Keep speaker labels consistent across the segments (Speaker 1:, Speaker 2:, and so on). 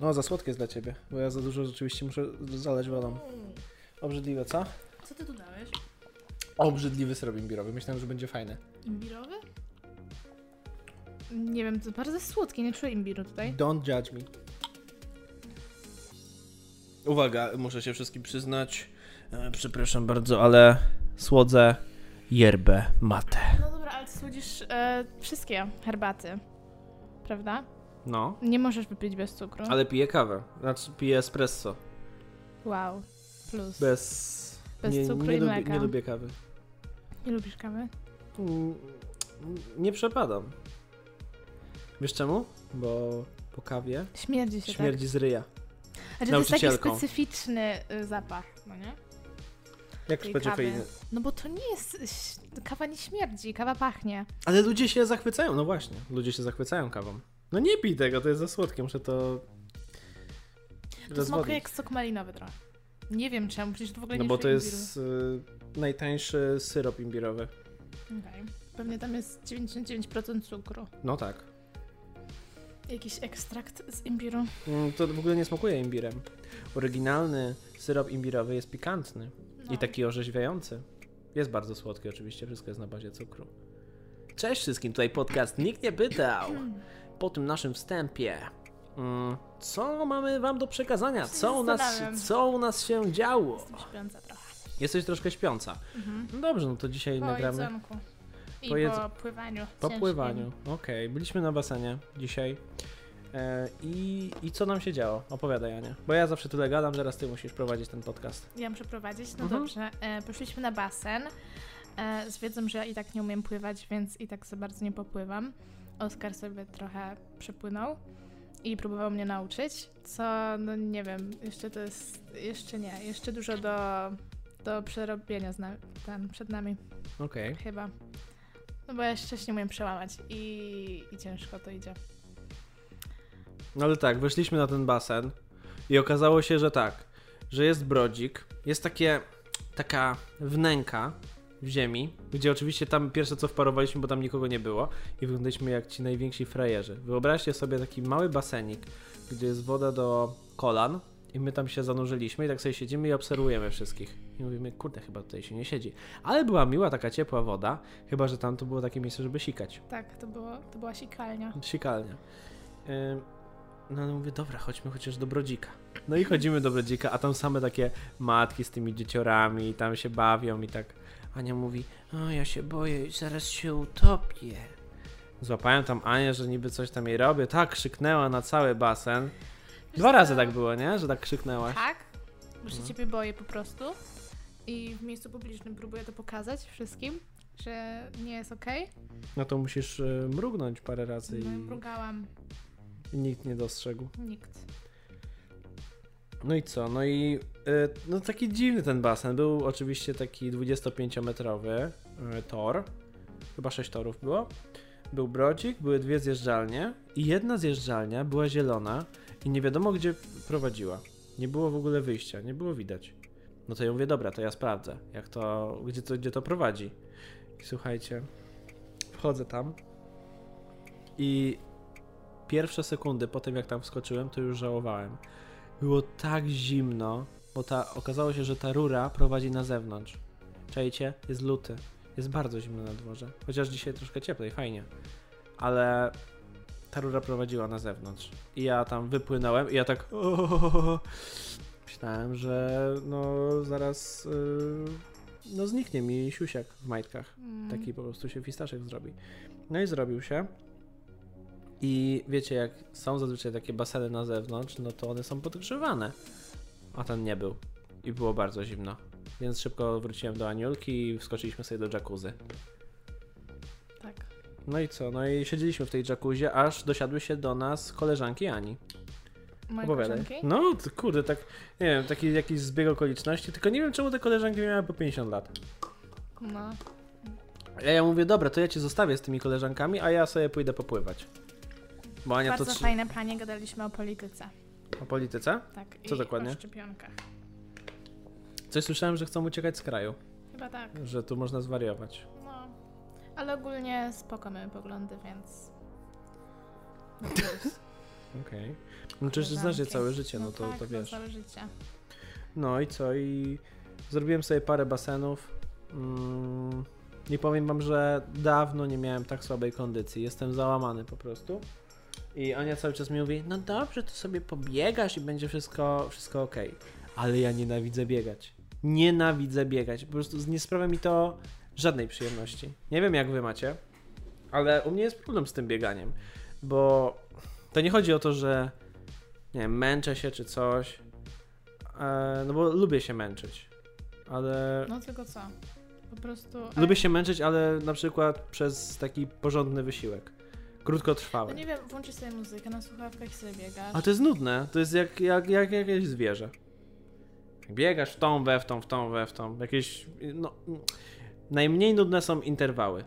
Speaker 1: No, za słodkie jest dla ciebie, bo ja za dużo rzeczywiście muszę zalać wodą. Obrzydliwe, co?
Speaker 2: Co ty tu dałeś?
Speaker 1: Obrzydliwy syrop imbirowy. Myślałem, że będzie fajny.
Speaker 2: Imbirowy? Nie wiem, to bardzo słodkie, nie czuję imbiru tutaj.
Speaker 1: Don't judge me. Uwaga, muszę się wszystkim przyznać. E, Przepraszam bardzo, ale słodzę yerbę mate.
Speaker 2: No dobra, ale ty słodzisz e, wszystkie herbaty, prawda?
Speaker 1: No,
Speaker 2: Nie możesz wypić bez cukru.
Speaker 1: ale piję kawę. Znaczy piję espresso.
Speaker 2: Wow, plus.
Speaker 1: Bez,
Speaker 2: Bez
Speaker 1: nie,
Speaker 2: cukru
Speaker 1: nie
Speaker 2: i
Speaker 1: lubię,
Speaker 2: mleka.
Speaker 1: Nie lubię kawy.
Speaker 2: Nie lubisz kawy?
Speaker 1: Mm, Nie przepadam. Wiesz czemu? Bo po kawie
Speaker 2: Śmierdzi się
Speaker 1: śmierdzi z ryja.
Speaker 2: tak. Znaczy, to jest taki
Speaker 1: nauczycielką.
Speaker 2: specyficzny y, zapach, no nie?
Speaker 1: Jak
Speaker 2: Tej kawy. No bo to nie jest... ś- Kawa nie śmierdzi, kawa pachnie.
Speaker 1: Ale ludzie się zachwycają, no właśnie. Ludzie się zachwycają kawą. No nie pij tego, to jest za słodkie, muszę to.
Speaker 2: To
Speaker 1: rozwodnić.
Speaker 2: smakuje jak sok malinowy trochę. Nie wiem czemu, przecież to w ogóle
Speaker 1: No
Speaker 2: nie
Speaker 1: bo
Speaker 2: czuję
Speaker 1: to
Speaker 2: imbiru.
Speaker 1: jest y, najtańszy syrop imbirowy.
Speaker 2: Okej. Pewnie tam jest 99% cukru.
Speaker 1: No tak.
Speaker 2: Jakiś ekstrakt z imbiru.
Speaker 1: Mm, To w ogóle nie smakuje imbirem. Oryginalny syrop imbirowy jest pikantny
Speaker 2: No.
Speaker 1: i taki orzeźwiający. Jest bardzo słodki oczywiście, wszystko jest na bazie cukru. Cześć wszystkim, tutaj podcast Nikt nie pytał. Po tym naszym wstępie. mm, Co mamy wam do przekazania?
Speaker 2: Się
Speaker 1: Co u nas,
Speaker 2: zastanawiam.
Speaker 1: co u nas się działo?
Speaker 2: Jestem śpiąca trochę.
Speaker 1: Jesteś troszkę śpiąca.
Speaker 2: Mhm.
Speaker 1: No dobrze, no to dzisiaj
Speaker 2: Po
Speaker 1: nagramy
Speaker 2: jedzonku. I
Speaker 1: Po
Speaker 2: po,
Speaker 1: jedz-
Speaker 2: pływaniu.
Speaker 1: po
Speaker 2: ciężkim.
Speaker 1: pływaniu. Okej, byliśmy na basenie dzisiaj. E, i, I co nam się działo? Opowiadaj, Ania. Bo ja zawsze tyle gadam, teraz ty musisz prowadzić ten podcast.
Speaker 2: Ja muszę prowadzić. No
Speaker 1: Mhm.
Speaker 2: dobrze. E, poszliśmy na basen. E, z wiedzą, że ja i tak nie umiem pływać, więc i tak za bardzo nie popływam. Oskar sobie trochę przepłynął i próbował mnie nauczyć, co no nie wiem, jeszcze to jest, jeszcze nie, jeszcze dużo do, do przerobienia z na, tam przed nami.
Speaker 1: Okej.
Speaker 2: Chyba. No bo ja jeszcze się nie umiem przełamać i, i ciężko to idzie.
Speaker 1: No ale tak, wyszliśmy na ten basen i okazało się, że tak, że jest brodzik, jest takie, taka wnęka w ziemi, gdzie oczywiście tam pierwsze co wparowaliśmy, bo tam nikogo nie było i wyglądaliśmy jak ci najwięksi frajerzy. Wyobraźcie sobie taki mały basenik, gdzie jest woda do kolan i my tam się zanurzyliśmy i tak sobie siedzimy i obserwujemy wszystkich. I mówimy, kurde, chyba tutaj się nie siedzi. Ale była miła taka ciepła woda, chyba że tam to było takie miejsce, żeby sikać.
Speaker 2: Tak, to, było, to była sikalnia.
Speaker 1: Sikalnia. Ym, No, no mówię, dobra, chodźmy chociaż do Brodzika. No i chodzimy do Brodzika, a tam same takie matki z tymi dzieciorami, tam się bawią i tak. Ania mówi, o ja się boję, zaraz się utopię. Złapałem tam Anię, że niby coś tam jej robię. Tak, krzyknęła na cały basen. Dwa razy tak było, nie? Że tak krzyknęłaś.
Speaker 2: Tak? Bo się
Speaker 1: No.
Speaker 2: ciebie boję po prostu. I w miejscu publicznym próbuję to pokazać wszystkim, że nie jest okej.
Speaker 1: No to musisz y, mrugnąć parę razy
Speaker 2: No i
Speaker 1: i,
Speaker 2: mrugałam.
Speaker 1: i nikt nie dostrzegł.
Speaker 2: Nikt.
Speaker 1: No i co? No i y, no taki dziwny ten basen. Był oczywiście taki 25-metrowy y, tor. Chyba 6 torów było. Był brodzik, były dwie zjeżdżalnie i jedna zjeżdżalnia była zielona i nie wiadomo gdzie prowadziła. Nie było w ogóle wyjścia, nie było widać. No to ja mówię, dobra, to ja sprawdzę, jak to, gdzie to, gdzie to prowadzi. I słuchajcie, wchodzę tam i pierwsze sekundy po tym, jak tam wskoczyłem, to już żałowałem. Było tak zimno, bo ta, okazało się, że ta rura prowadzi na zewnątrz. Czajcie, jest luty. Jest bardzo zimno na dworze. Chociaż dzisiaj troszkę cieplej, fajnie. Ale ta rura prowadziła na zewnątrz. I ja tam wypłynąłem i ja tak. Myślałem, że no zaraz. Yy, no zniknie mi siusiak w majtkach.
Speaker 2: Mm.
Speaker 1: Taki po prostu się fistaszek zrobi. No i zrobił się. I wiecie, jak są zazwyczaj takie baseny na zewnątrz, no to one są podgrzewane. A ten nie był. I było bardzo zimno. Więc szybko wróciłem do Aniulki i wskoczyliśmy sobie do jacuzzi.
Speaker 2: Tak.
Speaker 1: No i co? No i siedzieliśmy w tej jacuzzi, aż dosiadły się do nas koleżanki Ani.
Speaker 2: Moje
Speaker 1: Opowiadaj.
Speaker 2: koleżanki?
Speaker 1: No, to kurde, tak, nie wiem, taki jakiś zbieg okoliczności, tylko nie wiem czemu te koleżanki miały po 50 lat.
Speaker 2: No.
Speaker 1: Ja, ja mówię, dobra, to ja cię zostawię z tymi koleżankami, a ja sobie pójdę popływać. Bo Ania
Speaker 2: Bardzo
Speaker 1: to trzy...
Speaker 2: fajne panie, gadaliśmy o polityce.
Speaker 1: O polityce?
Speaker 2: Tak.
Speaker 1: Co
Speaker 2: i
Speaker 1: dokładnie?
Speaker 2: o szczepionkach.
Speaker 1: Coś słyszałem, że chcą uciekać z kraju,
Speaker 2: Chyba tak.
Speaker 1: że tu można zwariować.
Speaker 2: No. Ale ogólnie spoko mamy poglądy, więc... No plus.
Speaker 1: Okej. No przecież znasz je
Speaker 2: Koleżanki.
Speaker 1: całe życie, no to,
Speaker 2: tak,
Speaker 1: to wiesz.
Speaker 2: No, całe życie.
Speaker 1: No i co? I zrobiłem sobie parę basenów. Mm, nie powiem wam, że dawno nie miałem tak słabej kondycji. Jestem załamany po prostu. I Ania cały czas mi mówi, no dobrze, to sobie pobiegasz i będzie wszystko, wszystko ok. Ale ja nienawidzę biegać. Nienawidzę biegać. Po prostu nie sprawia mi to żadnej przyjemności. Nie wiem jak wy macie, ale u mnie jest problem z tym bieganiem. Bo to nie chodzi o to, że nie wiem, męczę się czy coś. E, no bo lubię się męczyć, ale...
Speaker 2: No tylko co? Po prostu.
Speaker 1: Lubię się męczyć, ale na przykład przez taki porządny wysiłek.
Speaker 2: No
Speaker 1: Krótkotrwały.
Speaker 2: nie wiem, włączysz sobie muzykę na słuchawkach i sobie biegasz.
Speaker 1: A to jest nudne, to jest jak, jak, jak jakieś zwierzę. Biegasz w tą, we w tą, w tą, we w tą. Jakieś, no... mm. Najmniej nudne są interwały.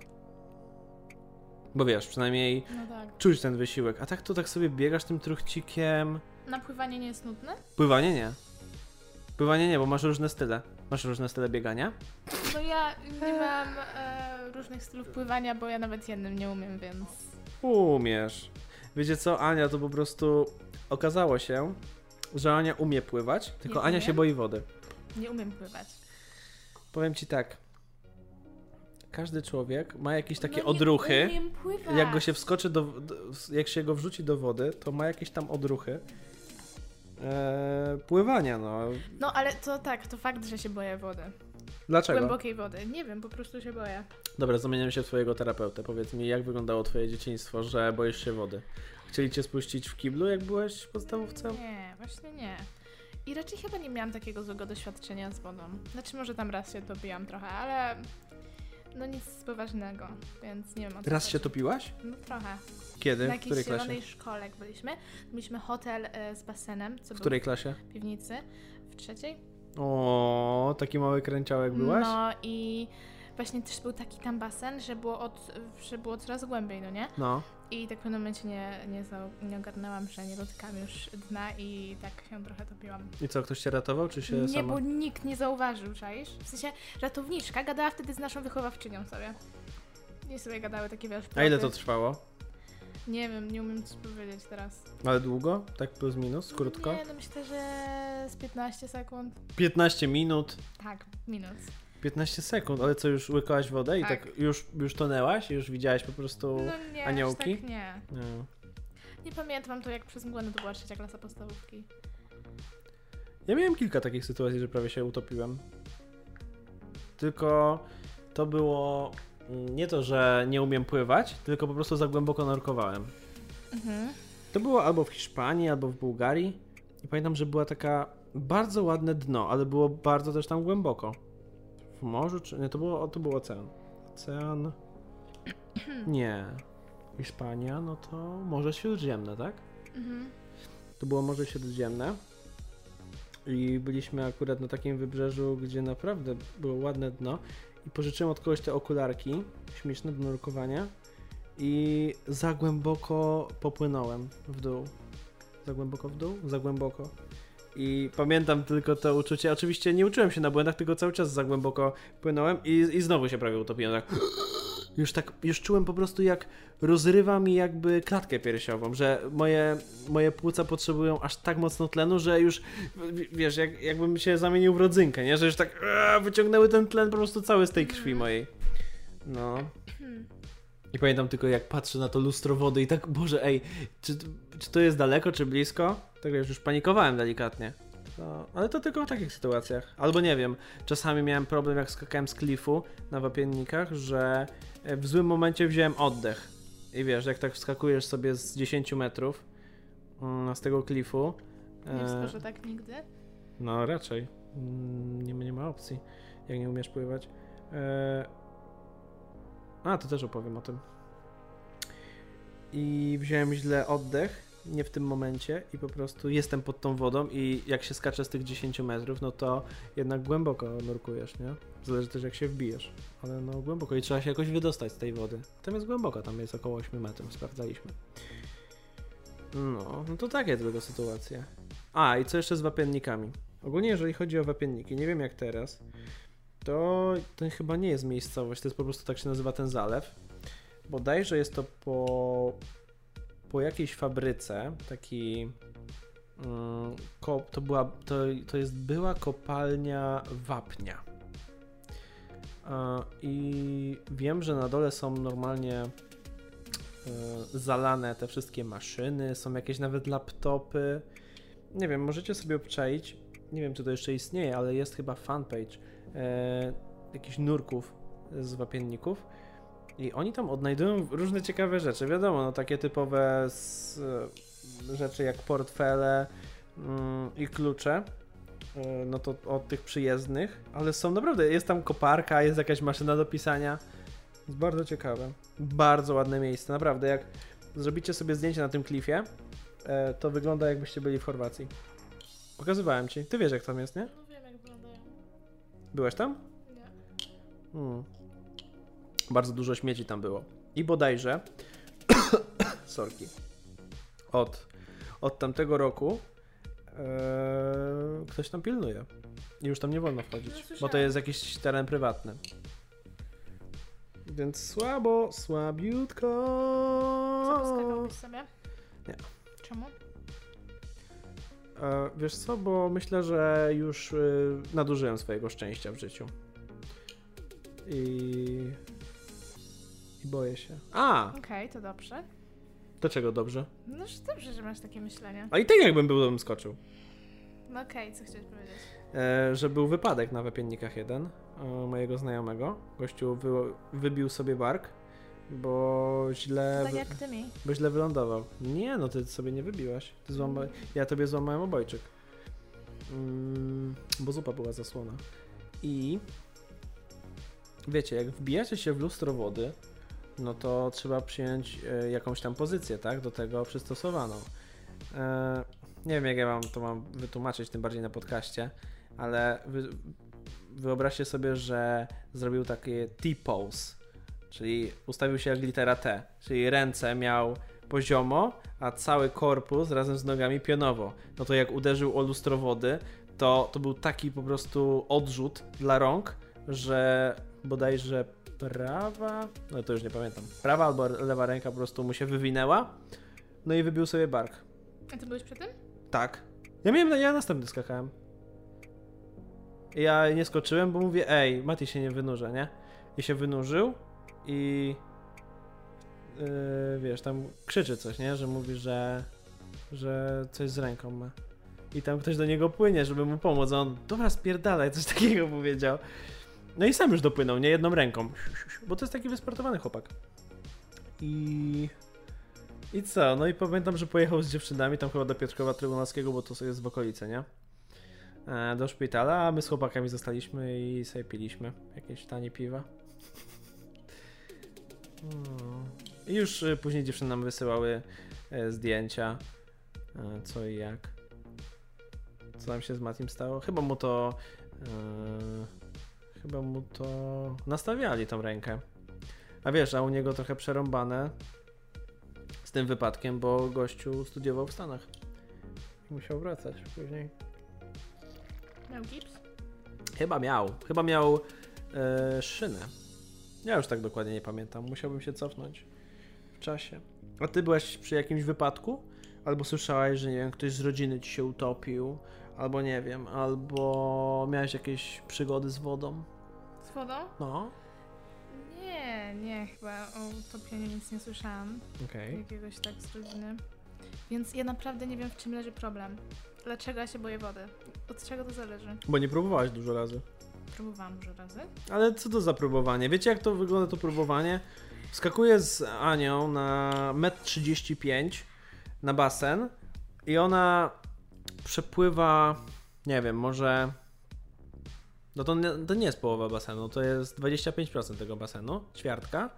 Speaker 1: Bo wiesz, przynajmniej
Speaker 2: No tak.
Speaker 1: czuć ten wysiłek. A tak to tak sobie biegasz tym truchcikiem.
Speaker 2: Napływanie nie jest nudne?
Speaker 1: Pływanie nie. Pływanie nie, bo masz różne style. Masz różne style biegania?
Speaker 2: No ja nie mam e, różnych stylów pływania, bo ja nawet jednym nie umiem, więc.
Speaker 1: Umiesz. Wiecie co, Ania to po prostu okazało się, że Ania umie pływać, tylko
Speaker 2: Nie
Speaker 1: Ania
Speaker 2: umiem.
Speaker 1: się boi wody.
Speaker 2: Nie umiem pływać.
Speaker 1: Powiem ci tak. Każdy człowiek ma jakieś takie
Speaker 3: no nie
Speaker 1: odruchy.
Speaker 3: Umiem pływać.
Speaker 1: Jak go się wskoczy do, do. Jak się go wrzuci do wody, to ma jakieś tam odruchy. Eee, pływania, no.
Speaker 2: No ale to tak, to fakt, że się boję wody.
Speaker 1: Dlaczego?
Speaker 2: Głębokiej wody. Nie wiem, po prostu się boję.
Speaker 1: Dobra, zamieniam się w twojego terapeutę. Powiedz mi, jak wyglądało twoje dzieciństwo, że boisz się wody? Chcieli cię spuścić w kiblu, jak byłeś w podstawówce?
Speaker 2: Nie, właśnie nie. I raczej chyba nie miałam takiego złego doświadczenia z wodą. Znaczy może tam raz się topiłam trochę, ale no nic poważnego, więc nie wiem o co
Speaker 1: Raz
Speaker 2: chodzi.
Speaker 1: się topiłaś?
Speaker 2: No trochę.
Speaker 1: Kiedy?
Speaker 2: Na
Speaker 1: W której
Speaker 2: jakiejś
Speaker 1: klasie?
Speaker 2: zielonej szkole jak byliśmy. Mieliśmy hotel e, z basenem, co
Speaker 1: W
Speaker 2: był
Speaker 1: której klasie?
Speaker 2: w piwnicy, w trzeciej.
Speaker 1: O, taki mały kręciołek byłaś? No.
Speaker 2: No i właśnie też był taki tam basen, że było, od, że było coraz głębiej, no nie? I tak w pewnym momencie nie, nie, za, nie ogarnęłam, że nie dotykam już dna i tak się trochę topiłam.
Speaker 1: I co, ktoś cię ratował, czy się
Speaker 2: Nie,
Speaker 1: sama...
Speaker 2: bo nikt nie zauważył, czaisz? W sensie ratowniczka gadała wtedy z naszą wychowawczynią sobie. Nie sobie gadały takie wiesz.
Speaker 1: A ile
Speaker 2: ploty.
Speaker 1: to trwało?
Speaker 2: Nie wiem, nie umiem ci powiedzieć teraz.
Speaker 1: Ale długo? Tak plus minus? Krótko?
Speaker 2: Nie, no myślę, że z 15 sekund.
Speaker 1: 15 minut.
Speaker 2: Tak, minut.
Speaker 1: 15 sekund, ale co, już łykałaś wodę i tak,
Speaker 2: Tak.
Speaker 1: już, już tonęłaś? Już widziałaś po prostu...
Speaker 2: No nie,
Speaker 1: aniołki?
Speaker 2: Aż tak nie.
Speaker 1: Nie.
Speaker 2: Nie pamiętam to jak przez mgłę, no to była trzecia klasa podstawówki.
Speaker 1: Ja miałem kilka takich sytuacji, że prawie się utopiłem. Tylko to było... mm, Nie to, że nie umiem pływać, tylko po prostu za głęboko nurkowałem.
Speaker 2: Mhm.
Speaker 1: To było albo w Hiszpanii, albo w Bułgarii. I pamiętam, że była taka bardzo ładne dno, ale było bardzo też tam głęboko. W morzu, czy nie? To, było, o, to był ocean. Ocean. Nie. Hiszpania, no to Morze Śródziemne, tak?
Speaker 2: Mhm.
Speaker 1: To było Morze Śródziemne. I byliśmy akurat na takim wybrzeżu, gdzie naprawdę było ładne dno. I pożyczyłem od kogoś te okularki śmieszne do nurkowania. I za głęboko popłynąłem w dół. Za głęboko w dół? Za głęboko. I pamiętam tylko to uczucie. Oczywiście nie uczyłem się na błędach, tylko cały czas za głęboko płynąłem i, i znowu się prawie utopiłem. Tak. Już tak, już czułem po prostu jak rozrywa mi jakby klatkę piersiową, że moje, moje płuca potrzebują aż tak mocno tlenu, że już, w- wiesz, jak, jakbym się zamienił w rodzynkę, nie? Że już tak aaa, wyciągnęły ten tlen po prostu cały z tej krwi mojej. No. I pamiętam tylko jak patrzę na to lustro wody i tak, Boże, ej, czy, czy to jest daleko, czy blisko? Tak wiesz, już panikowałem delikatnie. No, ale to tylko w takich sytuacjach. Albo nie wiem, czasami miałem problem jak skakałem z klifu na wapiennikach, że e, w złym momencie wziąłem oddech. I wiesz, jak tak wskakujesz sobie z 10 metrów mm, z tego klifu.
Speaker 2: Nie
Speaker 1: e,
Speaker 2: wskoczę tak nigdy.
Speaker 1: no raczej. Mm, Nie, nie ma opcji, jak nie umiesz pływać. E... A, to też opowiem o tym. I wziąłem źle oddech, nie w tym momencie i po prostu jestem pod tą wodą i jak się skacze z tych 10 metrów, no to jednak głęboko nurkujesz, nie? Zależy też jak się wbijesz, ale no głęboko i trzeba się jakoś wydostać z tej wody. Tam jest głęboko, tam jest około 8 metrów, sprawdzaliśmy. No, no to takie tylko sytuacje. A, i co jeszcze z wapiennikami? Ogólnie, jeżeli chodzi o wapienniki, nie wiem jak teraz, to to chyba nie jest miejscowość, to jest po prostu tak się nazywa ten zalew. Bodajże jest to po po jakiejś fabryce, taki mm, ko- to była, to, to jest była kopalnia wapnia. E, I wiem, że na dole są normalnie e, zalane te wszystkie maszyny, są jakieś nawet laptopy. Nie wiem, możecie sobie obczaić. Nie wiem, czy to jeszcze istnieje, ale jest chyba fanpage e, jakichś nurków z wapienników. I oni tam odnajdują różne ciekawe rzeczy. Wiadomo, no takie typowe z, e, rzeczy jak portfele mm, i klucze. E, No to od tych przyjezdnych, ale są naprawdę, jest tam koparka, jest jakaś maszyna do pisania. Jest bardzo ciekawe. Bardzo ładne miejsce, naprawdę. Jak zrobicie sobie zdjęcie na tym klifie, e, to wygląda jakbyście byli w Chorwacji. Pokazywałem ci. Ty wiesz jak tam jest, nie?
Speaker 2: No wiem, jak wyglądają.
Speaker 1: Byłeś tam?
Speaker 2: Nie.
Speaker 1: Mm. Bardzo dużo śmieci tam było. I bodajże, sorki, od, od tamtego roku e, ktoś tam pilnuje. I już tam nie wolno
Speaker 2: No,
Speaker 1: wchodzić, bo to
Speaker 2: słyszałam.
Speaker 1: jest jakiś teren prywatny. Więc słabo, słabiutko.
Speaker 2: Co poskakałbyś sobie?
Speaker 1: Nie.
Speaker 2: Czemu?
Speaker 1: E, Wiesz co, bo myślę, że już y, nadużyłem swojego szczęścia w życiu. I... I boję się. A!
Speaker 2: Okej, to dobrze.
Speaker 1: Dlaczego dobrze?
Speaker 2: No że dobrze, że masz takie myślenie.
Speaker 1: A i tak jakbym był, to bym skoczył.
Speaker 2: No okej, co chciałeś powiedzieć?
Speaker 1: E, że był wypadek na Wepiennikach 1 e, mojego znajomego. Gościu wy, wybił sobie bark, bo źle,
Speaker 2: tak
Speaker 1: wy-
Speaker 2: jak ty mi.
Speaker 1: bo źle wylądował. Nie, no ty sobie nie wybiłaś. Ty złama... Ja tobie złamałem obojczyk. Mm, bo zupa była zasłona. I wiecie, jak wbijacie się w lustro wody, no to trzeba przyjąć e, jakąś tam pozycję, tak? Do tego przystosowaną. E, nie wiem, jak ja wam to mam wytłumaczyć, tym bardziej na podcaście, ale wy, wyobraźcie sobie, że zrobił takie T-pose, czyli ustawił się jak litera T, czyli ręce miał poziomo, a cały korpus razem z nogami pionowo. No to jak uderzył o lustro wody, to, to był taki po prostu odrzut dla rąk, że bodajże prawa, no to już nie pamiętam, prawa albo lewa ręka po prostu mu się wywinęła, no i wybił sobie bark.
Speaker 2: A ty byłeś przy tym?
Speaker 1: Tak. Ja miałem, ja następny skakałem. Ja nie skoczyłem, bo mówię, ej, Mati się nie wynurza, nie? I się wynurzył i yy, wiesz, tam krzyczy coś, nie? Że mówi, że, że coś z ręką ma. I tam ktoś do niego płynie, żeby mu pomóc, a on, dobra, spierdalaj, coś takiego powiedział. No i sam już dopłynął, nie? Jedną ręką. Bo to jest taki wysportowany chłopak. I... I co? No i pamiętam, że pojechał z dziewczynami tam chyba do Piotrkowa Trybunalskiego, bo to sobie jest w okolicy, nie? E, Do szpitala, a my z chłopakami zostaliśmy i sobie piliśmy jakieś tanie piwa. Mm. I już e, później dziewczyny nam wysyłały e, zdjęcia, e, co i jak. Co nam się z Matim stało? Chyba mu to... e, Chyba mu to... Nastawiali tą rękę. A wiesz, a u niego trochę przerąbane, z tym wypadkiem, bo gościu studiował w Stanach. I Musiał wracać później.
Speaker 2: Miał gips?
Speaker 1: Chyba miał. Chyba miał e, szynę. Ja już tak dokładnie nie pamiętam. Musiałbym się cofnąć w czasie. A ty byłaś przy jakimś wypadku? Albo słyszałaś, że nie wiem, ktoś z rodziny ci się utopił, albo nie wiem, albo miałeś jakieś przygody z wodą.
Speaker 2: Z wodą?
Speaker 1: No.
Speaker 2: Nie, nie, chyba o utopieniu nic nie słyszałam.
Speaker 1: Okej.
Speaker 2: Jakiegoś tak z rodziny. Więc ja naprawdę nie wiem, w czym leży problem. Dlaczego ja się boję wody? Od czego to zależy?
Speaker 1: Bo nie próbowałaś dużo razy.
Speaker 2: Próbowałam dużo razy.
Speaker 1: Ale co to za próbowanie? Wiecie jak to wygląda to próbowanie? Skakuję z Anią na 1,35 m na basen i ona przepływa, nie wiem, może... No to nie, to nie jest połowa basenu, to jest 25% tego basenu, ćwiartka,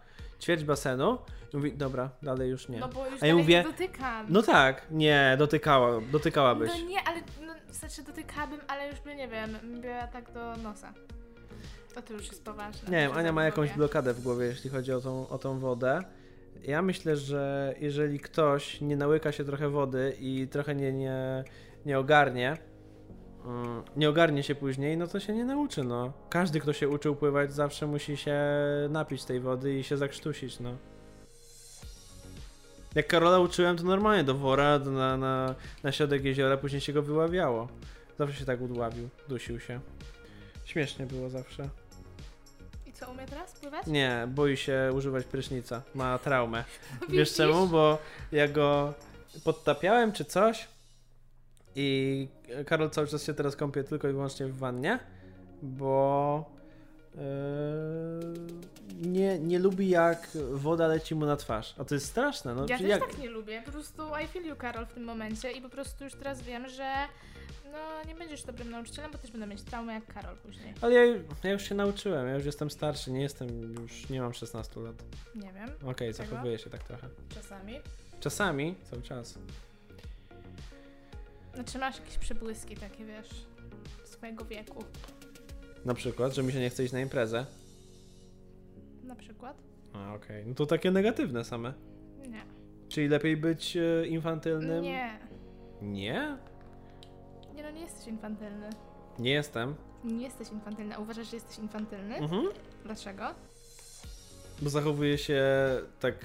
Speaker 1: ćwierć basenu i mówi, dobra, dalej już nie.
Speaker 2: No bo już
Speaker 1: A ja
Speaker 2: dalej
Speaker 1: mówię,
Speaker 2: nie dotykam.
Speaker 1: No tak, nie, dotykała, dotykałabyś.
Speaker 2: No nie, ale no, w sensie dotykałabym, ale już by nie wiem, była tak do nosa. To to już jest poważne.
Speaker 1: Nie wiem,
Speaker 2: Że
Speaker 1: Ania ma
Speaker 2: tak
Speaker 1: jakąś
Speaker 2: mówię.
Speaker 1: blokadę w głowie, jeśli chodzi o tą, o tą wodę. Ja myślę, że jeżeli ktoś nie nałyka się trochę wody i trochę nie, nie, nie ogarnie, mm, nie ogarnie się później, no to się nie nauczy, no. Każdy, kto się uczył pływać, zawsze musi się napić tej wody i się zakrztusić, no. Jak Karola uczyłem, to normalnie do wora, do- na, na, na środek jeziora, później się go wyławiało. Zawsze się tak udławił, dusił się. Śmiesznie było zawsze.
Speaker 2: I co, umie teraz pływać?
Speaker 1: Nie, boi się używać prysznica, ma traumę. Wiesz
Speaker 2: Widzisz?
Speaker 1: czemu? Bo ja go podtapiałem czy coś i Karol cały czas się teraz kąpie tylko i wyłącznie w wannie, bo yy, nie, nie lubi jak woda leci mu na twarz. A to jest straszne. No,
Speaker 2: ja
Speaker 1: czy
Speaker 2: też
Speaker 1: jak,
Speaker 2: tak nie lubię. Po prostu I feel you, Karol, w tym momencie i po prostu już teraz wiem, że no nie będziesz dobrym nauczycielem, bo też będę mieć traumę jak Karol później.
Speaker 1: Ale ja, ja już się nauczyłem, ja już jestem starszy, nie jestem już, nie mam 16 lat.
Speaker 2: Nie wiem,
Speaker 1: Okej,
Speaker 2: Czego?
Speaker 1: zachowuję się tak trochę.
Speaker 2: czasami.
Speaker 1: Czasami, cały czas.
Speaker 2: Znaczy masz jakieś przebłyski takie, wiesz, swojego wieku
Speaker 1: Na przykład, że mi się nie chce iść na imprezę.
Speaker 2: na przykład?
Speaker 1: A, okej. No to takie negatywne same.
Speaker 2: Nie.
Speaker 1: Czyli lepiej być e, infantylnym?
Speaker 2: Nie.
Speaker 1: Nie?
Speaker 2: Nie, no nie jesteś infantylny.
Speaker 1: Nie jestem.
Speaker 2: Nie jesteś infantylny. A uważasz, że jesteś infantylny?
Speaker 1: Mhm.
Speaker 2: Dlaczego?
Speaker 1: Bo zachowuję się tak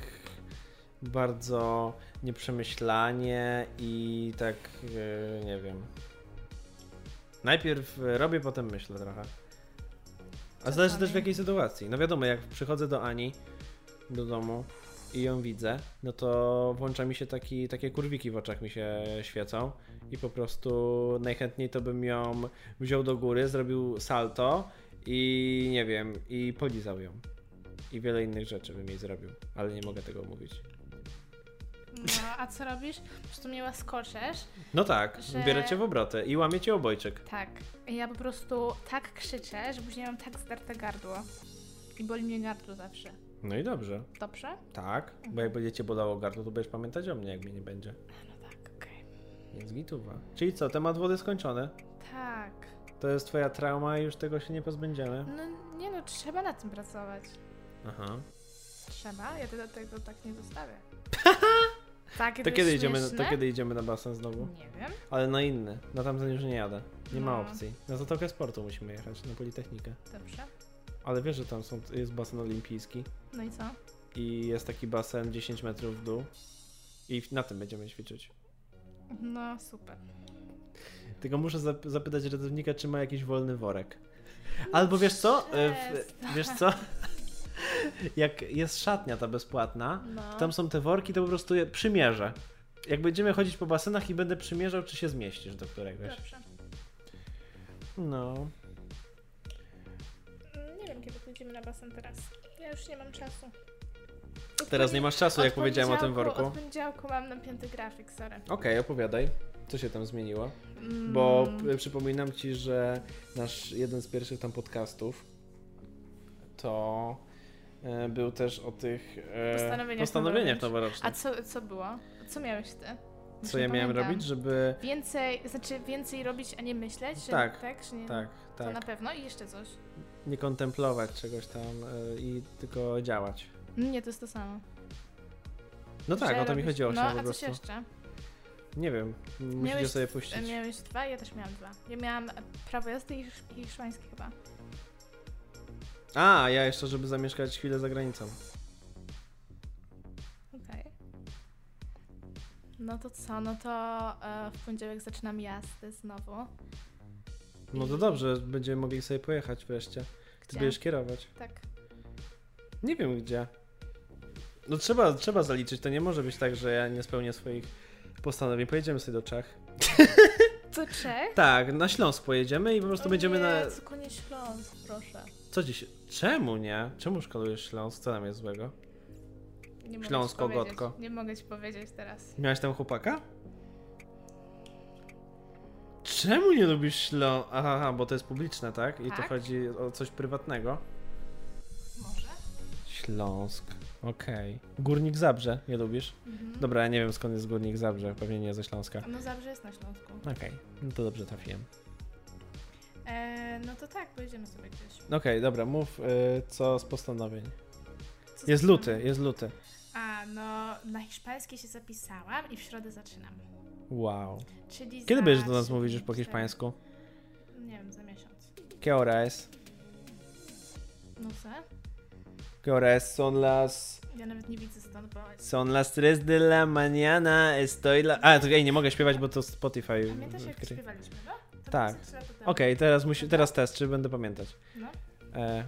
Speaker 1: bardzo nieprzemyślanie i tak, e, nie wiem. Najpierw e, robię, potem myślę trochę. A
Speaker 2: Co
Speaker 1: zależy
Speaker 2: dalej?
Speaker 1: też w jakiej sytuacji. No wiadomo, jak przychodzę do Ani do domu i ją widzę, no to włącza mi się taki, takie kurwiki w oczach mi się świecą i po prostu najchętniej to bym ją wziął do góry, zrobił salto i nie wiem, i polizał ją. I wiele innych rzeczy bym jej zrobił, ale nie mogę tego mówić.
Speaker 2: No, a co robisz? Że tu mnie łaskoczesz.
Speaker 1: No tak,
Speaker 2: Że-
Speaker 1: biorę cię w obrotę i łamię cię obojczyk.
Speaker 2: Tak. I Ja po prostu tak krzyczę, że później mam tak zdarte gardło. I boli mnie gardło zawsze.
Speaker 1: No i dobrze.
Speaker 2: Dobrze?
Speaker 1: Tak, bo jak będzie cię bolało gardło, to będziesz pamiętać o mnie, jak mnie nie będzie.
Speaker 2: No tak, okej.
Speaker 1: Więc gituwa. Czyli co, temat wody skończony?
Speaker 2: Tak.
Speaker 1: To jest twoja trauma i już tego się nie pozbędziemy.
Speaker 2: No nie no, trzeba nad tym pracować.
Speaker 1: Aha.
Speaker 2: Trzeba? Ja tego, tego tak nie zostawię. Takie
Speaker 1: To
Speaker 2: to
Speaker 1: kiedy,
Speaker 2: jest
Speaker 1: idziemy, to
Speaker 2: śmieszne?
Speaker 1: kiedy idziemy na basen znowu?
Speaker 2: Nie wiem.
Speaker 1: Ale na inny. Na tamten już nie jadę. Nie ma
Speaker 2: No.
Speaker 1: opcji. Na Zatokę Sportu musimy jechać, na Politechnikę.
Speaker 2: Dobrze.
Speaker 1: Ale wiesz, że tam są, jest basen olimpijski
Speaker 2: No i co?
Speaker 1: i jest taki basen 10 metrów w dół. I na tym będziemy ćwiczyć.
Speaker 2: No super.
Speaker 1: Tylko muszę zap- zapytać ratownika, czy ma jakiś wolny worek. Albo wiesz co? E, W,
Speaker 2: Przestań.
Speaker 1: wiesz co? Jak jest szatnia ta bezpłatna,
Speaker 2: No.
Speaker 1: tam są te worki, to po prostu je przymierzę. Jak będziemy chodzić po basenach i będę przymierzał, czy się zmieścisz do któregoś.
Speaker 2: Dobrze.
Speaker 1: No.
Speaker 2: Mm, Nie wiem, kiedy pójdziemy na basen teraz. Ja już nie mam czasu. Od
Speaker 1: Teraz nie
Speaker 2: ponie-
Speaker 1: masz czasu, jak
Speaker 2: od
Speaker 1: powiedziałem o tym
Speaker 2: poniedziałku-
Speaker 1: worku.
Speaker 2: Od poniedziałku mam napięty grafik, sorry.
Speaker 1: Okej, opowiadaj. Co się tam zmieniło?
Speaker 2: Mm,
Speaker 1: Bo p- przypominam ci, że nasz jeden z pierwszych tam podcastów to e, był też o tych e,
Speaker 2: Postanowieniach
Speaker 1: postanowieniach
Speaker 2: A
Speaker 1: noworocznych.
Speaker 2: co, co było? Co miałeś ty? Już
Speaker 1: Co
Speaker 2: nie
Speaker 1: ja miałem
Speaker 2: pamiętam.
Speaker 1: robić, żeby.
Speaker 2: Więcej, znaczy więcej robić, a nie myśleć? Że,
Speaker 1: Tak,
Speaker 2: tak, że nie,
Speaker 1: Tak,
Speaker 2: To na
Speaker 1: tak.
Speaker 2: pewno i jeszcze coś.
Speaker 1: Nie kontemplować czegoś tam e, i tylko działać.
Speaker 2: Nie, to jest to samo.
Speaker 1: No tak,
Speaker 2: Że
Speaker 1: o to mi
Speaker 2: robić-
Speaker 1: chodziło.
Speaker 2: No,
Speaker 1: chciałem
Speaker 2: a
Speaker 1: po
Speaker 2: coś
Speaker 1: prostu.
Speaker 2: jeszcze?
Speaker 1: Nie wiem, musicie
Speaker 2: Miałeś-
Speaker 1: sobie puścić.
Speaker 2: Miałeś dwa, ja też miałam dwa. Ja miałam prawo jazdy i hisz- i hiszpański chyba.
Speaker 1: A, ja jeszcze, żeby zamieszkać chwilę za granicą.
Speaker 2: Okej. No to co? No to e, w poniedziałek zaczynam jazdy znowu.
Speaker 1: No to
Speaker 2: I-
Speaker 1: dobrze, będziemy mogli sobie pojechać wreszcie. Ty
Speaker 2: Gdzie?
Speaker 1: będziesz kierować.
Speaker 2: Tak.
Speaker 1: Nie wiem gdzie. No trzeba, trzeba zaliczyć, to nie może być tak, że ja nie spełnię swoich postanowień. Pojedziemy sobie do Czech.
Speaker 2: Co Czech?
Speaker 1: Tak, na Śląsk pojedziemy i po prostu
Speaker 2: O
Speaker 1: będziemy
Speaker 2: nie,
Speaker 1: na...
Speaker 2: tylko nie Śląsk, proszę.
Speaker 1: Co dziś? Czemu nie? Czemu szkalujesz Śląsk? Co tam jest złego?
Speaker 2: Nie mogę ci
Speaker 1: Śląsko,
Speaker 2: powiedzieć.
Speaker 1: Gotko.
Speaker 2: Nie mogę ci powiedzieć teraz.
Speaker 1: Miałeś tam chłopaka? Czemu nie lubisz Śląsk? Aha, aha, bo to jest publiczne, tak? I
Speaker 2: Tak.
Speaker 1: to chodzi o coś prywatnego.
Speaker 2: Może?
Speaker 1: Śląsk. Okej. Górnik Zabrze, nie lubisz?
Speaker 2: Mhm.
Speaker 1: Dobra, ja nie wiem skąd jest Górnik Zabrze, pewnie nie ze Śląska.
Speaker 2: No Zabrze jest na Śląsku.
Speaker 1: Okej, no to dobrze trafiłem.
Speaker 2: E, no to tak, pojedziemy sobie gdzieś.
Speaker 1: Okej, dobra, mów y, co z postanowień.
Speaker 2: Co
Speaker 1: Jest
Speaker 2: zaczynamy?
Speaker 1: luty, jest luty.
Speaker 2: A, no na hiszpański się zapisałam i w środę zaczynam.
Speaker 1: Wow.
Speaker 2: Czyli
Speaker 1: Kiedy
Speaker 2: za
Speaker 1: będziesz do nas
Speaker 2: trzy
Speaker 1: mówić
Speaker 2: dni,
Speaker 1: już po
Speaker 2: cztery-
Speaker 1: hiszpańsku?
Speaker 2: Nie wiem, za miesiąc.
Speaker 1: ¿Qué hora es?
Speaker 2: No co?
Speaker 1: ¿Qué hora es? Son las
Speaker 2: Ja nawet nie widzę stąd, bo...
Speaker 1: Son las tres de la mañana, estoy la... A, to ej, nie mogę śpiewać, bo to Spotify...
Speaker 2: Pamiętasz jak
Speaker 1: odkryje.
Speaker 2: śpiewaliśmy, no? To
Speaker 1: Tak.
Speaker 2: było ze trzy lata temu.
Speaker 1: Okej, teraz, musi, teraz test, czy będę pamiętać.
Speaker 2: No.
Speaker 1: E,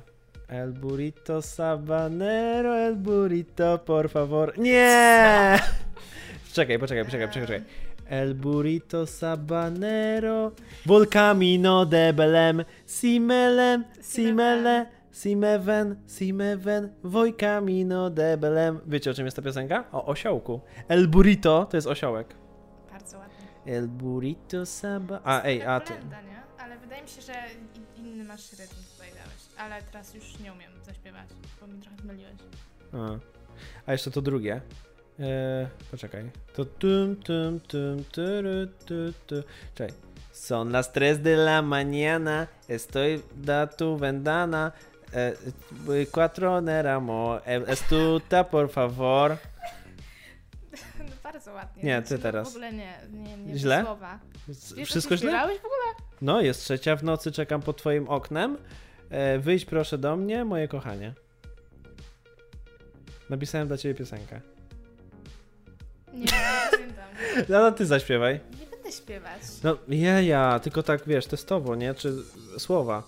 Speaker 1: el burrito sabanero, el burrito, por favor... Nie! Czekaj, poczekaj, poczekaj, poczekaj, poczekaj. El burrito sabanero, volcamino de Belém, simelem, simele, simeven, simeven, volcamino de Belém. Wiecie o czym jest ta piosenka? O osiołku. El burrito to jest osiołek.
Speaker 2: Bardzo ładnie.
Speaker 1: El burrito saba... A, ej, a to...
Speaker 2: Polenda, nie? Ale wydaje mi się, że i- inny masz rytm tutaj dałeś. Ale teraz już nie umiem zaśpiewać, bo mi trochę zmyliłeś.
Speaker 1: A, a jeszcze to drugie. E, poczekaj. To tum tum tum tyry, ty, ty. Czekaj. Son las tres de la mañana. Estoy da tu vendana. E, e, cuatro de ramo. E, estuta, por favor.
Speaker 2: No bardzo ładnie.
Speaker 1: Nie,
Speaker 2: Znaczy,
Speaker 1: ty
Speaker 2: no
Speaker 1: teraz.
Speaker 2: W ogóle nie, nie, nie
Speaker 1: Źle?
Speaker 2: te słowa.
Speaker 1: S-
Speaker 2: Wiesz,
Speaker 1: Wszystko
Speaker 2: źle?
Speaker 1: źle?
Speaker 2: w ogóle?
Speaker 1: No, jest trzecia w nocy, czekam pod twoim oknem. E, wyjdź proszę do mnie, moje kochanie. Napisałem dla ciebie piosenkę.
Speaker 2: Nie, nie pamiętam.
Speaker 1: No, no ty zaśpiewaj.
Speaker 2: Nie będę śpiewać,
Speaker 1: No ja, ja, tylko tak wiesz, testowo, nie? Czy słowa?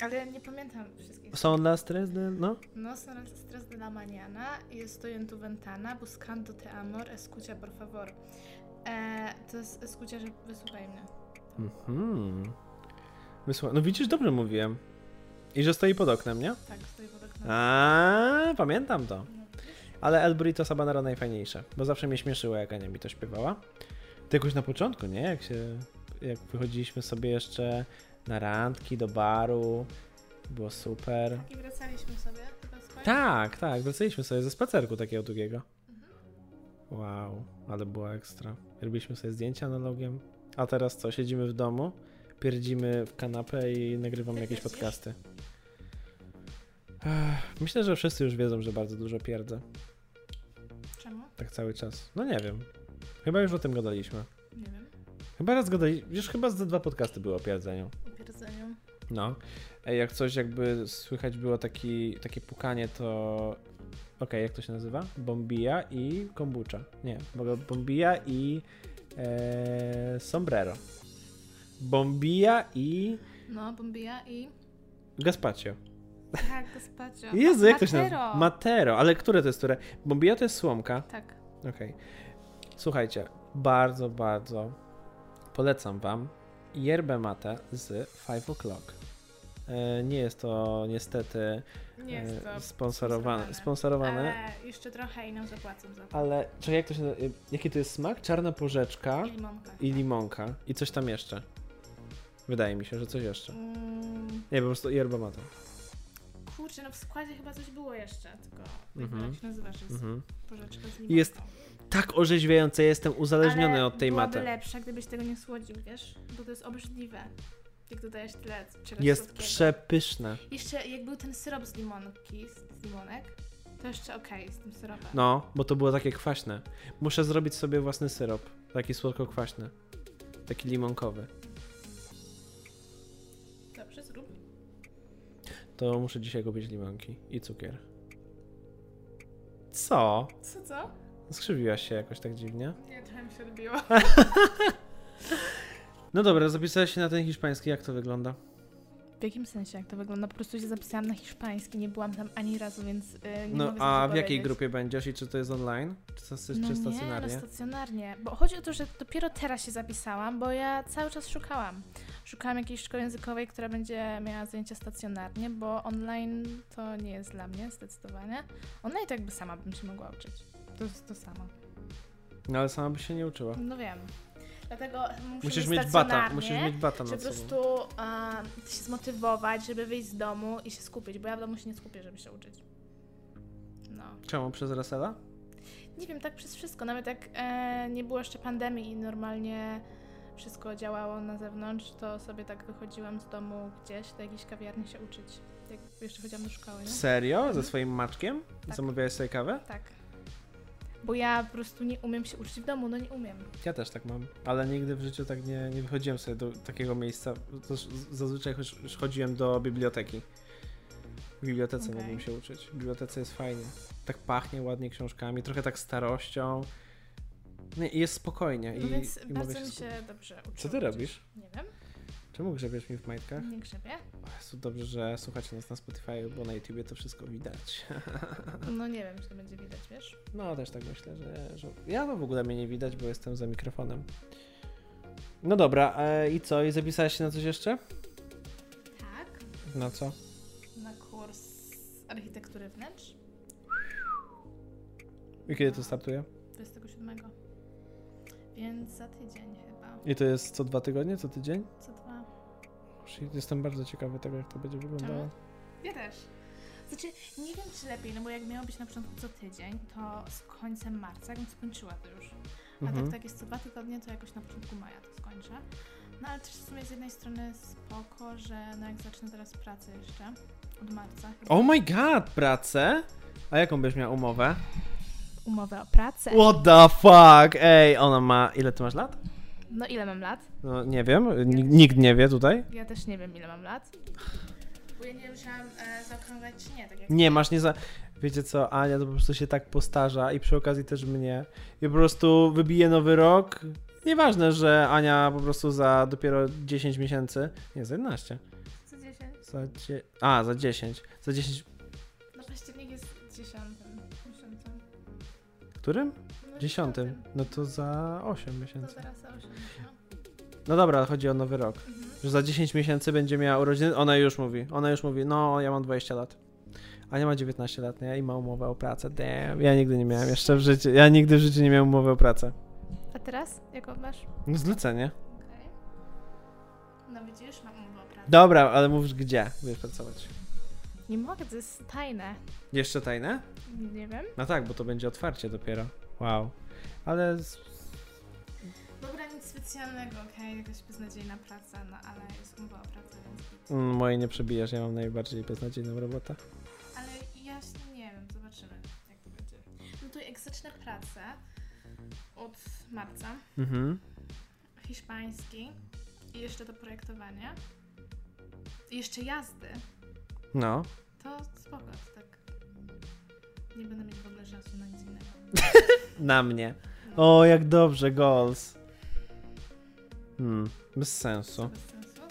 Speaker 2: ale nie pamiętam wszystkich.
Speaker 1: Są dla stres, no?
Speaker 2: No son stres de la mañana y estoy en tu ventana buscando te amor, escucha por favor. E, to jest escucha, że wysłuchaj mnie.
Speaker 1: Mhm. Wysła... No widzisz, dobrze mówiłem. I że stoi pod oknem, nie?
Speaker 2: Tak, stoi pod oknem.
Speaker 1: A, pamiętam to.
Speaker 2: No,
Speaker 1: Ale El Burrito Sabanero najfajniejsze, bo zawsze mnie śmieszyło, jak Ania mi to śpiewała. Ty jakoś na początku, nie? Jak się, jak wychodziliśmy sobie jeszcze na randki, do baru, było super.
Speaker 2: I wracaliśmy sobie chyba z końca.
Speaker 1: Tak, tak, wracaliśmy sobie ze spacerku takiego długiego. Wow, ale było ekstra. Robiliśmy sobie zdjęcia analogiem. A teraz co, siedzimy w domu, pierdzimy w kanapę i nagrywamy
Speaker 2: Ty
Speaker 1: jakieś
Speaker 2: pierdzisz?
Speaker 1: podcasty. Ech, Myślę, że wszyscy już wiedzą, że bardzo dużo pierdzę.
Speaker 2: Czemu?
Speaker 1: Tak cały czas. No nie wiem. Chyba już o tym gadaliśmy.
Speaker 2: Nie wiem.
Speaker 1: Chyba raz gadaliśmy, już chyba ze dwa podcasty były o pierdzeniu.
Speaker 2: Upierdzeniu.
Speaker 1: No. Ej, jak coś jakby słychać było taki, takie pukanie, to... Okej, jak to się nazywa? Bombija i kombucha. Nie, bo- bombija i e, sombrero. Bombija i
Speaker 2: No, bombija i...
Speaker 1: gazpacio.
Speaker 2: Tak, gazpacio.
Speaker 1: Jezu, jak to się
Speaker 2: Matero.
Speaker 1: nazywa? Matero. Ale które to jest które? Bombija to jest słomka.
Speaker 2: Tak.
Speaker 1: Okej. Słuchajcie, bardzo, bardzo polecam wam yerbę mate z 5 o'clock. E, Nie jest to niestety
Speaker 2: Nie
Speaker 1: e,
Speaker 2: jest to...
Speaker 1: sponsorowane,
Speaker 2: sponsorowane.
Speaker 1: sponsorowane
Speaker 2: Ale jeszcze trochę i nam zapłacą za to.
Speaker 1: ale czekaj, jak to się, e, jaki to jest smak? Czarna porzeczka
Speaker 2: I limonka.
Speaker 1: i limonka i coś tam jeszcze. Wydaje mi się, że coś jeszcze.
Speaker 2: Mm,
Speaker 1: Nie, po prostu yerba mate.
Speaker 2: kurczę, no w składzie chyba coś było jeszcze, tylko
Speaker 1: Mhm.
Speaker 2: mhm. jak się nazywa, że jest
Speaker 1: Mhm.
Speaker 2: porzeczka z
Speaker 1: Jest
Speaker 2: limonką.
Speaker 1: Tak orzeźwiające jestem uzależniony
Speaker 2: Ale
Speaker 1: od tej
Speaker 2: byłaby
Speaker 1: maty.
Speaker 2: lepsza, gdybyś tego nie słodził, wiesz? Bo to jest obrzydliwe, jak dodajesz tyle czegoś
Speaker 1: Jest
Speaker 2: słodkiego.
Speaker 1: przepyszne.
Speaker 2: Jeszcze jak był ten syrop z limonki, z limonek, to jeszcze okej z tym syropem.
Speaker 1: No, bo to było takie kwaśne. Muszę zrobić sobie własny syrop. Taki słodko-kwaśny. Taki limonkowy.
Speaker 2: Dobrze, zrób.
Speaker 1: To muszę dzisiaj kupić limonki i cukier. Co?
Speaker 2: Co, co?
Speaker 1: Skrzywiłaś się jakoś tak dziwnie?
Speaker 2: Nie, trochę mi się odbiło.
Speaker 1: No dobra, zapisałeś się na ten hiszpański. Jak to wygląda?
Speaker 2: W jakim sensie, jak to wygląda? Po prostu się zapisałam na hiszpański, nie byłam tam ani razu, więc y, nie
Speaker 1: No,
Speaker 2: mogę za
Speaker 1: a
Speaker 2: dużo
Speaker 1: w jakiej
Speaker 2: powiedzieć.
Speaker 1: grupie będziesz i czy to jest online? Czy, stas- czy
Speaker 2: Nie, no
Speaker 1: stacjonarnie?
Speaker 2: stacjonarnie. Bo chodzi o to, że dopiero teraz się zapisałam, bo ja cały czas szukałam. Szukałam jakiejś szkoły językowej, która będzie miała zajęcia stacjonarnie, bo online to nie jest dla mnie zdecydowanie. Online to jakby sama bym się mogła uczyć. To jest to samo.
Speaker 1: No ale sama byś się nie uczyła.
Speaker 2: No wiem. Dlatego muszę
Speaker 1: Musisz mieć
Speaker 2: być
Speaker 1: bata,
Speaker 2: stacjonarnie,
Speaker 1: musisz mieć bata
Speaker 2: żeby
Speaker 1: nad
Speaker 2: po
Speaker 1: sobą.
Speaker 2: prostu a, się zmotywować, żeby wyjść z domu i się skupić, bo ja w domu się nie skupię, żeby się uczyć. No.
Speaker 1: Czemu? Przez Rasela?
Speaker 2: Nie wiem, tak przez wszystko. Nawet jak e, nie było jeszcze pandemii i normalnie wszystko działało na zewnątrz, to sobie tak wychodziłam z domu gdzieś do jakiejś kawiarni się uczyć. Jak jeszcze chodziłam do szkoły, nie?
Speaker 1: Serio? Ze swoim maczkiem?
Speaker 2: No. Mhm. Tak.
Speaker 1: Zamawiałeś sobie kawę?
Speaker 2: Tak. Bo ja po prostu nie umiem się uczyć w domu, no nie umiem.
Speaker 1: Ja też tak mam, ale nigdy w życiu tak nie, nie wychodziłem sobie do takiego miejsca. To z- zazwyczaj choć- chodziłem do biblioteki. W bibliotece
Speaker 2: Okej.
Speaker 1: mógłbym się uczyć. W bibliotece jest fajnie. Tak pachnie ładnie książkami, trochę tak starością. Nie, i jest spokojnie.
Speaker 2: No
Speaker 1: i,
Speaker 2: więc
Speaker 1: i
Speaker 2: bardzo mi
Speaker 1: skupić.
Speaker 2: się dobrze uczyło.
Speaker 1: Co ty robisz?
Speaker 2: Nie wiem,
Speaker 1: Czemu grzebiesz mi w majtkach?
Speaker 2: nie grzebię.
Speaker 1: O Jezu, dobrze, że słuchacie nas na Spotify, bo na YouTubie to wszystko widać.
Speaker 2: No nie wiem, czy to będzie widać, wiesz?
Speaker 1: No, też tak myślę, że, że... Ja no w ogóle mnie nie widać, bo jestem za mikrofonem. No dobra, e, i co? I zapisałeś się na coś jeszcze?
Speaker 2: Tak,
Speaker 1: Na co?
Speaker 2: na kurs architektury wnętrz
Speaker 1: I kiedy to startuje?
Speaker 2: 27. Więc za tydzień chyba.
Speaker 1: I to jest co dwa tygodnie, co tydzień?
Speaker 2: Co dwa?
Speaker 1: Shit, Jestem bardzo ciekawy tego, jak to będzie wyglądało.
Speaker 2: Ja też. Znaczy, nie wiem czy lepiej, no bo jak miało być na początku co tydzień, to z końcem marca jakbym skończyła to już. A
Speaker 1: Mhm.
Speaker 2: tak tak jest co dwa tygodnie, to jakoś na początku maja to skończę. No ale też w sumie z jednej strony spoko, że no jak zacznę teraz pracę jeszcze od marca. Chyba.
Speaker 1: Oh my god, pracę? A jaką byś miała umowę?
Speaker 2: Umowę o pracę.
Speaker 1: What the fuck? Ej, ona ma... Ile ty masz lat?
Speaker 2: No ile mam lat?
Speaker 1: No, nie wiem, Nig- nikt nie wie tutaj.
Speaker 2: Ja też nie wiem ile mam lat. Bo ja nie wiem, czy mam e, zaokrąglać czy nie, tak jak
Speaker 1: Nie, masz nie za... Wiecie co, Ania to po prostu się tak postarza i przy okazji też mnie. I po prostu wybije nowy rok. Nieważne, że Ania po prostu za dopiero 10 miesięcy... Nie, za 11.
Speaker 2: co 10.
Speaker 1: Za dzie... A, za 10. Za 10...
Speaker 2: No październik jest dziesiątym miesiącem.
Speaker 1: Którym?
Speaker 2: No,
Speaker 1: Dziesiątym. No to za 8
Speaker 2: To
Speaker 1: miesięcy.
Speaker 2: zaraz za osiem, no.
Speaker 1: No dobra, chodzi o nowy rok.
Speaker 2: Mhm.
Speaker 1: Że za 10 miesięcy będzie miała urodziny. Ona już mówi, ona już mówi, no ja mam 20 lat. Ania ma 19 lat, nie? I ma umowę o pracę. Damn, ja nigdy nie miałem jeszcze w życiu. Ja nigdy w życiu nie miałem umowy o pracę.
Speaker 2: A teraz? Jaką masz?
Speaker 1: No zlecenie.
Speaker 2: Okej. No widzisz, mam umowę o pracę.
Speaker 1: Dobra, ale mówisz gdzie będziesz pracować?
Speaker 2: Nie mogę, to jest tajne.
Speaker 1: Jeszcze tajne?
Speaker 2: Nie wiem.
Speaker 1: No tak, bo to będzie otwarcie dopiero. Wow. Ale z-
Speaker 2: Dobra, nic specjalnego, okej, jakaś beznadziejna praca, no ale jest umowa o pracę, więc git.
Speaker 1: mm, moje nie przebijesz, ja mam najbardziej beznadziejną robotę.
Speaker 2: Ale ja się- nie wiem, zobaczymy jak to będzie. No to jak zacznę pracę od marca,
Speaker 1: Mhm.
Speaker 2: hiszpański i jeszcze to projektowanie i jeszcze jazdy,
Speaker 1: No.
Speaker 2: to spoko, to tak nie będę mieć w ogóle czasu na nic innego.
Speaker 1: Na mnie.
Speaker 2: No,
Speaker 1: O, jak dobrze, goals. Hmm, bez
Speaker 2: to
Speaker 1: sensu.
Speaker 2: bez sensu.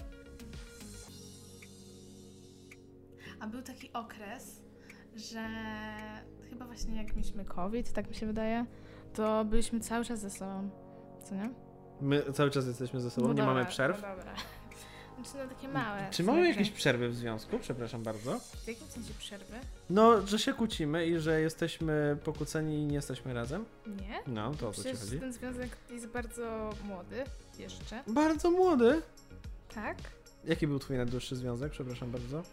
Speaker 2: A był taki okres, że chyba właśnie jak mieliśmy COVID, tak mi się wydaje, to byliśmy cały czas ze sobą, co nie?
Speaker 1: My cały czas jesteśmy ze sobą, nie
Speaker 2: dobra,
Speaker 1: mamy przerw. Mm,
Speaker 2: No dobra. Znaczy no takie małe.
Speaker 1: Czy mamy
Speaker 2: przerwy.
Speaker 1: jakieś przerwy w związku? Przepraszam bardzo.
Speaker 2: W jakim sensie przerwy?
Speaker 1: No, że się kłócimy i że jesteśmy pokłóceni i nie jesteśmy razem.
Speaker 2: Nie?
Speaker 1: No, to o co ci
Speaker 2: Przecież
Speaker 1: chodzi?
Speaker 2: ten związek jest bardzo młody jeszcze,
Speaker 1: Bardzo młody.
Speaker 2: tak?
Speaker 1: Jaki był twój najdłuższy związek? Przepraszam bardzo.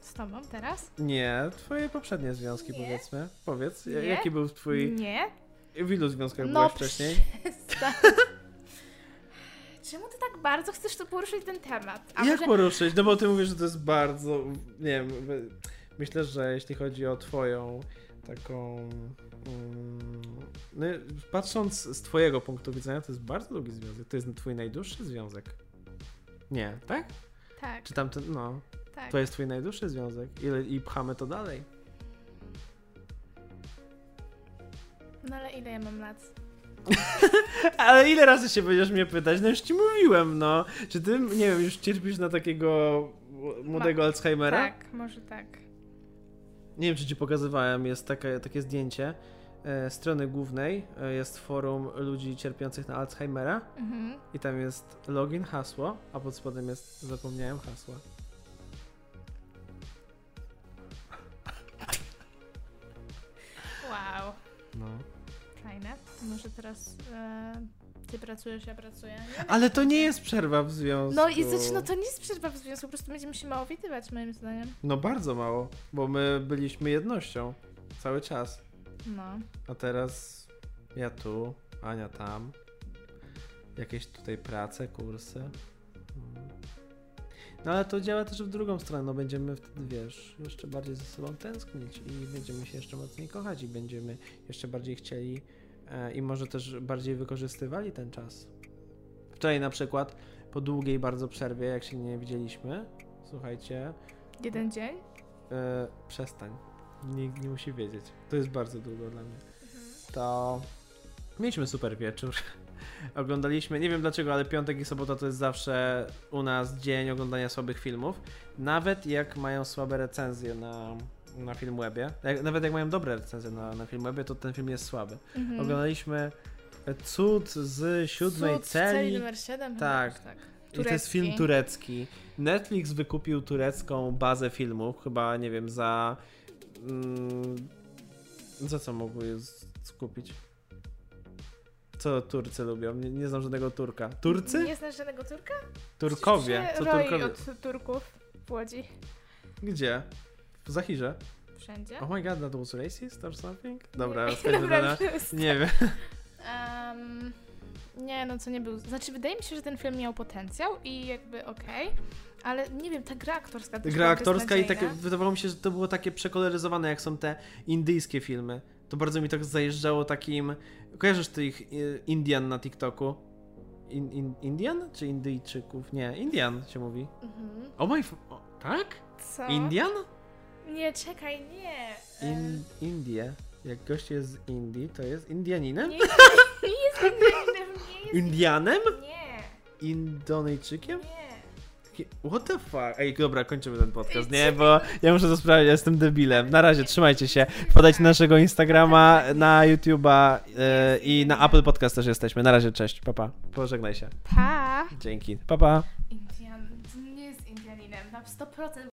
Speaker 2: Z tobą teraz?
Speaker 1: Nie, twoje poprzednie związki
Speaker 2: Nie.
Speaker 1: powiedzmy. Powiedz, ja-
Speaker 2: Nie.
Speaker 1: jaki był twój...
Speaker 2: Nie.
Speaker 1: W ilu związkach
Speaker 2: No,
Speaker 1: byłeś wcześniej?
Speaker 2: przestań. Czemu ty tak bardzo chcesz tu poruszyć ten temat?
Speaker 1: Jak poruszyć? No bo ty mówisz, że to jest bardzo... Nie wiem, wy- myślę, że jeśli chodzi o twoją taką... mm, No, patrząc z twojego punktu widzenia, to jest bardzo długi związek. To jest twój najdłuższy związek. Nie, tak?
Speaker 2: Tak,
Speaker 1: Czy tamten... No.
Speaker 2: tak.
Speaker 1: To jest twój najdłuższy związek. Ile, I pchamy to dalej.
Speaker 2: No ale ile ja mam lat?
Speaker 1: Ale ile razy się będziesz mnie pytać? No już ci mówiłem, no. Czy ty, nie wiem, już cierpisz na takiego młodego Alzheimera?
Speaker 2: Tak, może tak.
Speaker 1: Nie wiem, czy ci pokazywałem, jest takie, takie zdjęcie e, strony głównej, e, jest forum ludzi cierpiących na Alzheimera
Speaker 2: Mhm.
Speaker 1: i tam jest login, hasło, a pod spodem jest zapomniałem hasła.
Speaker 2: Wow.
Speaker 1: No.
Speaker 2: Fajne. Może teraz e, ty pracujesz, ja pracuję.
Speaker 1: Ale to nie jest przerwa w związku.
Speaker 2: No i znaczy, no to nie jest przerwa w związku, po prostu będziemy się mało widywać moim zdaniem.
Speaker 1: No bardzo mało, bo my byliśmy jednością cały czas,
Speaker 2: No.
Speaker 1: a teraz ja tu, Ania tam, jakieś tutaj prace, kursy. Mm. No ale to działa też w drugą stronę, no będziemy wtedy, wiesz, jeszcze bardziej ze sobą tęsknić i będziemy się jeszcze mocniej kochać i będziemy jeszcze bardziej chcieli e, i może też bardziej wykorzystywali ten czas. Wczoraj na przykład, po długiej bardzo przerwie, jak się nie widzieliśmy, słuchajcie,
Speaker 2: Jeden dzień?
Speaker 1: e, przestań. Nikt nie musi wiedzieć. To jest bardzo długo dla mnie. To mieliśmy super wieczór. Oglądaliśmy, nie wiem dlaczego, ale piątek i sobota to jest zawsze u nas dzień oglądania słabych filmów. Nawet jak mają słabe recenzje na, na Filmwebie, jak, nawet jak mają dobre recenzje na, na Filmwebie, to ten film jest słaby.
Speaker 2: Mhm.
Speaker 1: Oglądaliśmy e, Cud z siódmej
Speaker 2: Cud w
Speaker 1: celi.
Speaker 2: numer 7?
Speaker 1: Tak.
Speaker 2: tak.
Speaker 1: I to jest
Speaker 2: Turecki.
Speaker 1: film turecki. Netflix wykupił turecką bazę filmów, chyba nie wiem, za. Mm, za co mogły je z- skupić? Co Turcy lubią? Nie, nie znam żadnego Turka. Turcy?
Speaker 2: Nie znasz żadnego Turka?
Speaker 1: Turkowie.
Speaker 2: Przecież
Speaker 1: Co
Speaker 2: się roi
Speaker 1: Turkowie?
Speaker 2: od Turków w Łodzi.
Speaker 1: Gdzie? W Zachirze.
Speaker 2: Wszędzie.
Speaker 1: Oh my god, that was racist or something? Dobra,
Speaker 2: Nie-
Speaker 1: rozkażę
Speaker 2: Dobra,
Speaker 1: dana.
Speaker 2: już-
Speaker 1: Nie wiem.
Speaker 2: Em, nie, no co nie był. Znaczy, wydaje mi się, że ten film miał potencjał i jakby okej, ale nie wiem, ta gra aktorska też
Speaker 1: Gra
Speaker 2: była
Speaker 1: aktorska i tak- takie,
Speaker 2: beznadziejna.
Speaker 1: wydawało mi się, że to było takie przekoloryzowane, jak są te indyjskie filmy. To bardzo mi tak zajeżdżało takim... Kojarzysz tych e, Indian na TikToku? In, in, Indian? Czy Indyjczyków? Nie, Indian się mówi.
Speaker 2: Mhm.
Speaker 1: Oh my... f- O, tak?
Speaker 2: Co?
Speaker 1: Indian?
Speaker 2: Nie, czekaj, nie. Em,
Speaker 1: In, Indie. Jak gość jest z Indii, to jest Indianinem?
Speaker 2: Nie, jest- nie jest Indianinem, nie jest.
Speaker 1: Indianem?
Speaker 2: Nie,
Speaker 1: Indonejczykiem?
Speaker 2: nie.
Speaker 1: What the fuck? Ej, dobra, kończymy ten podcast, nie? Bo ja muszę to sprawdzić, ja jestem debilem. Na razie, trzymajcie się. Podajcie naszego Instagrama, na YouTube'a e, i na Apple Podcast też jesteśmy. Na razie, cześć, papa. Pa. Pożegnaj się.
Speaker 2: Pa!
Speaker 1: Dzięki. Papa. Pa.
Speaker 2: Indian. Nie jest Indianinem, na 100%.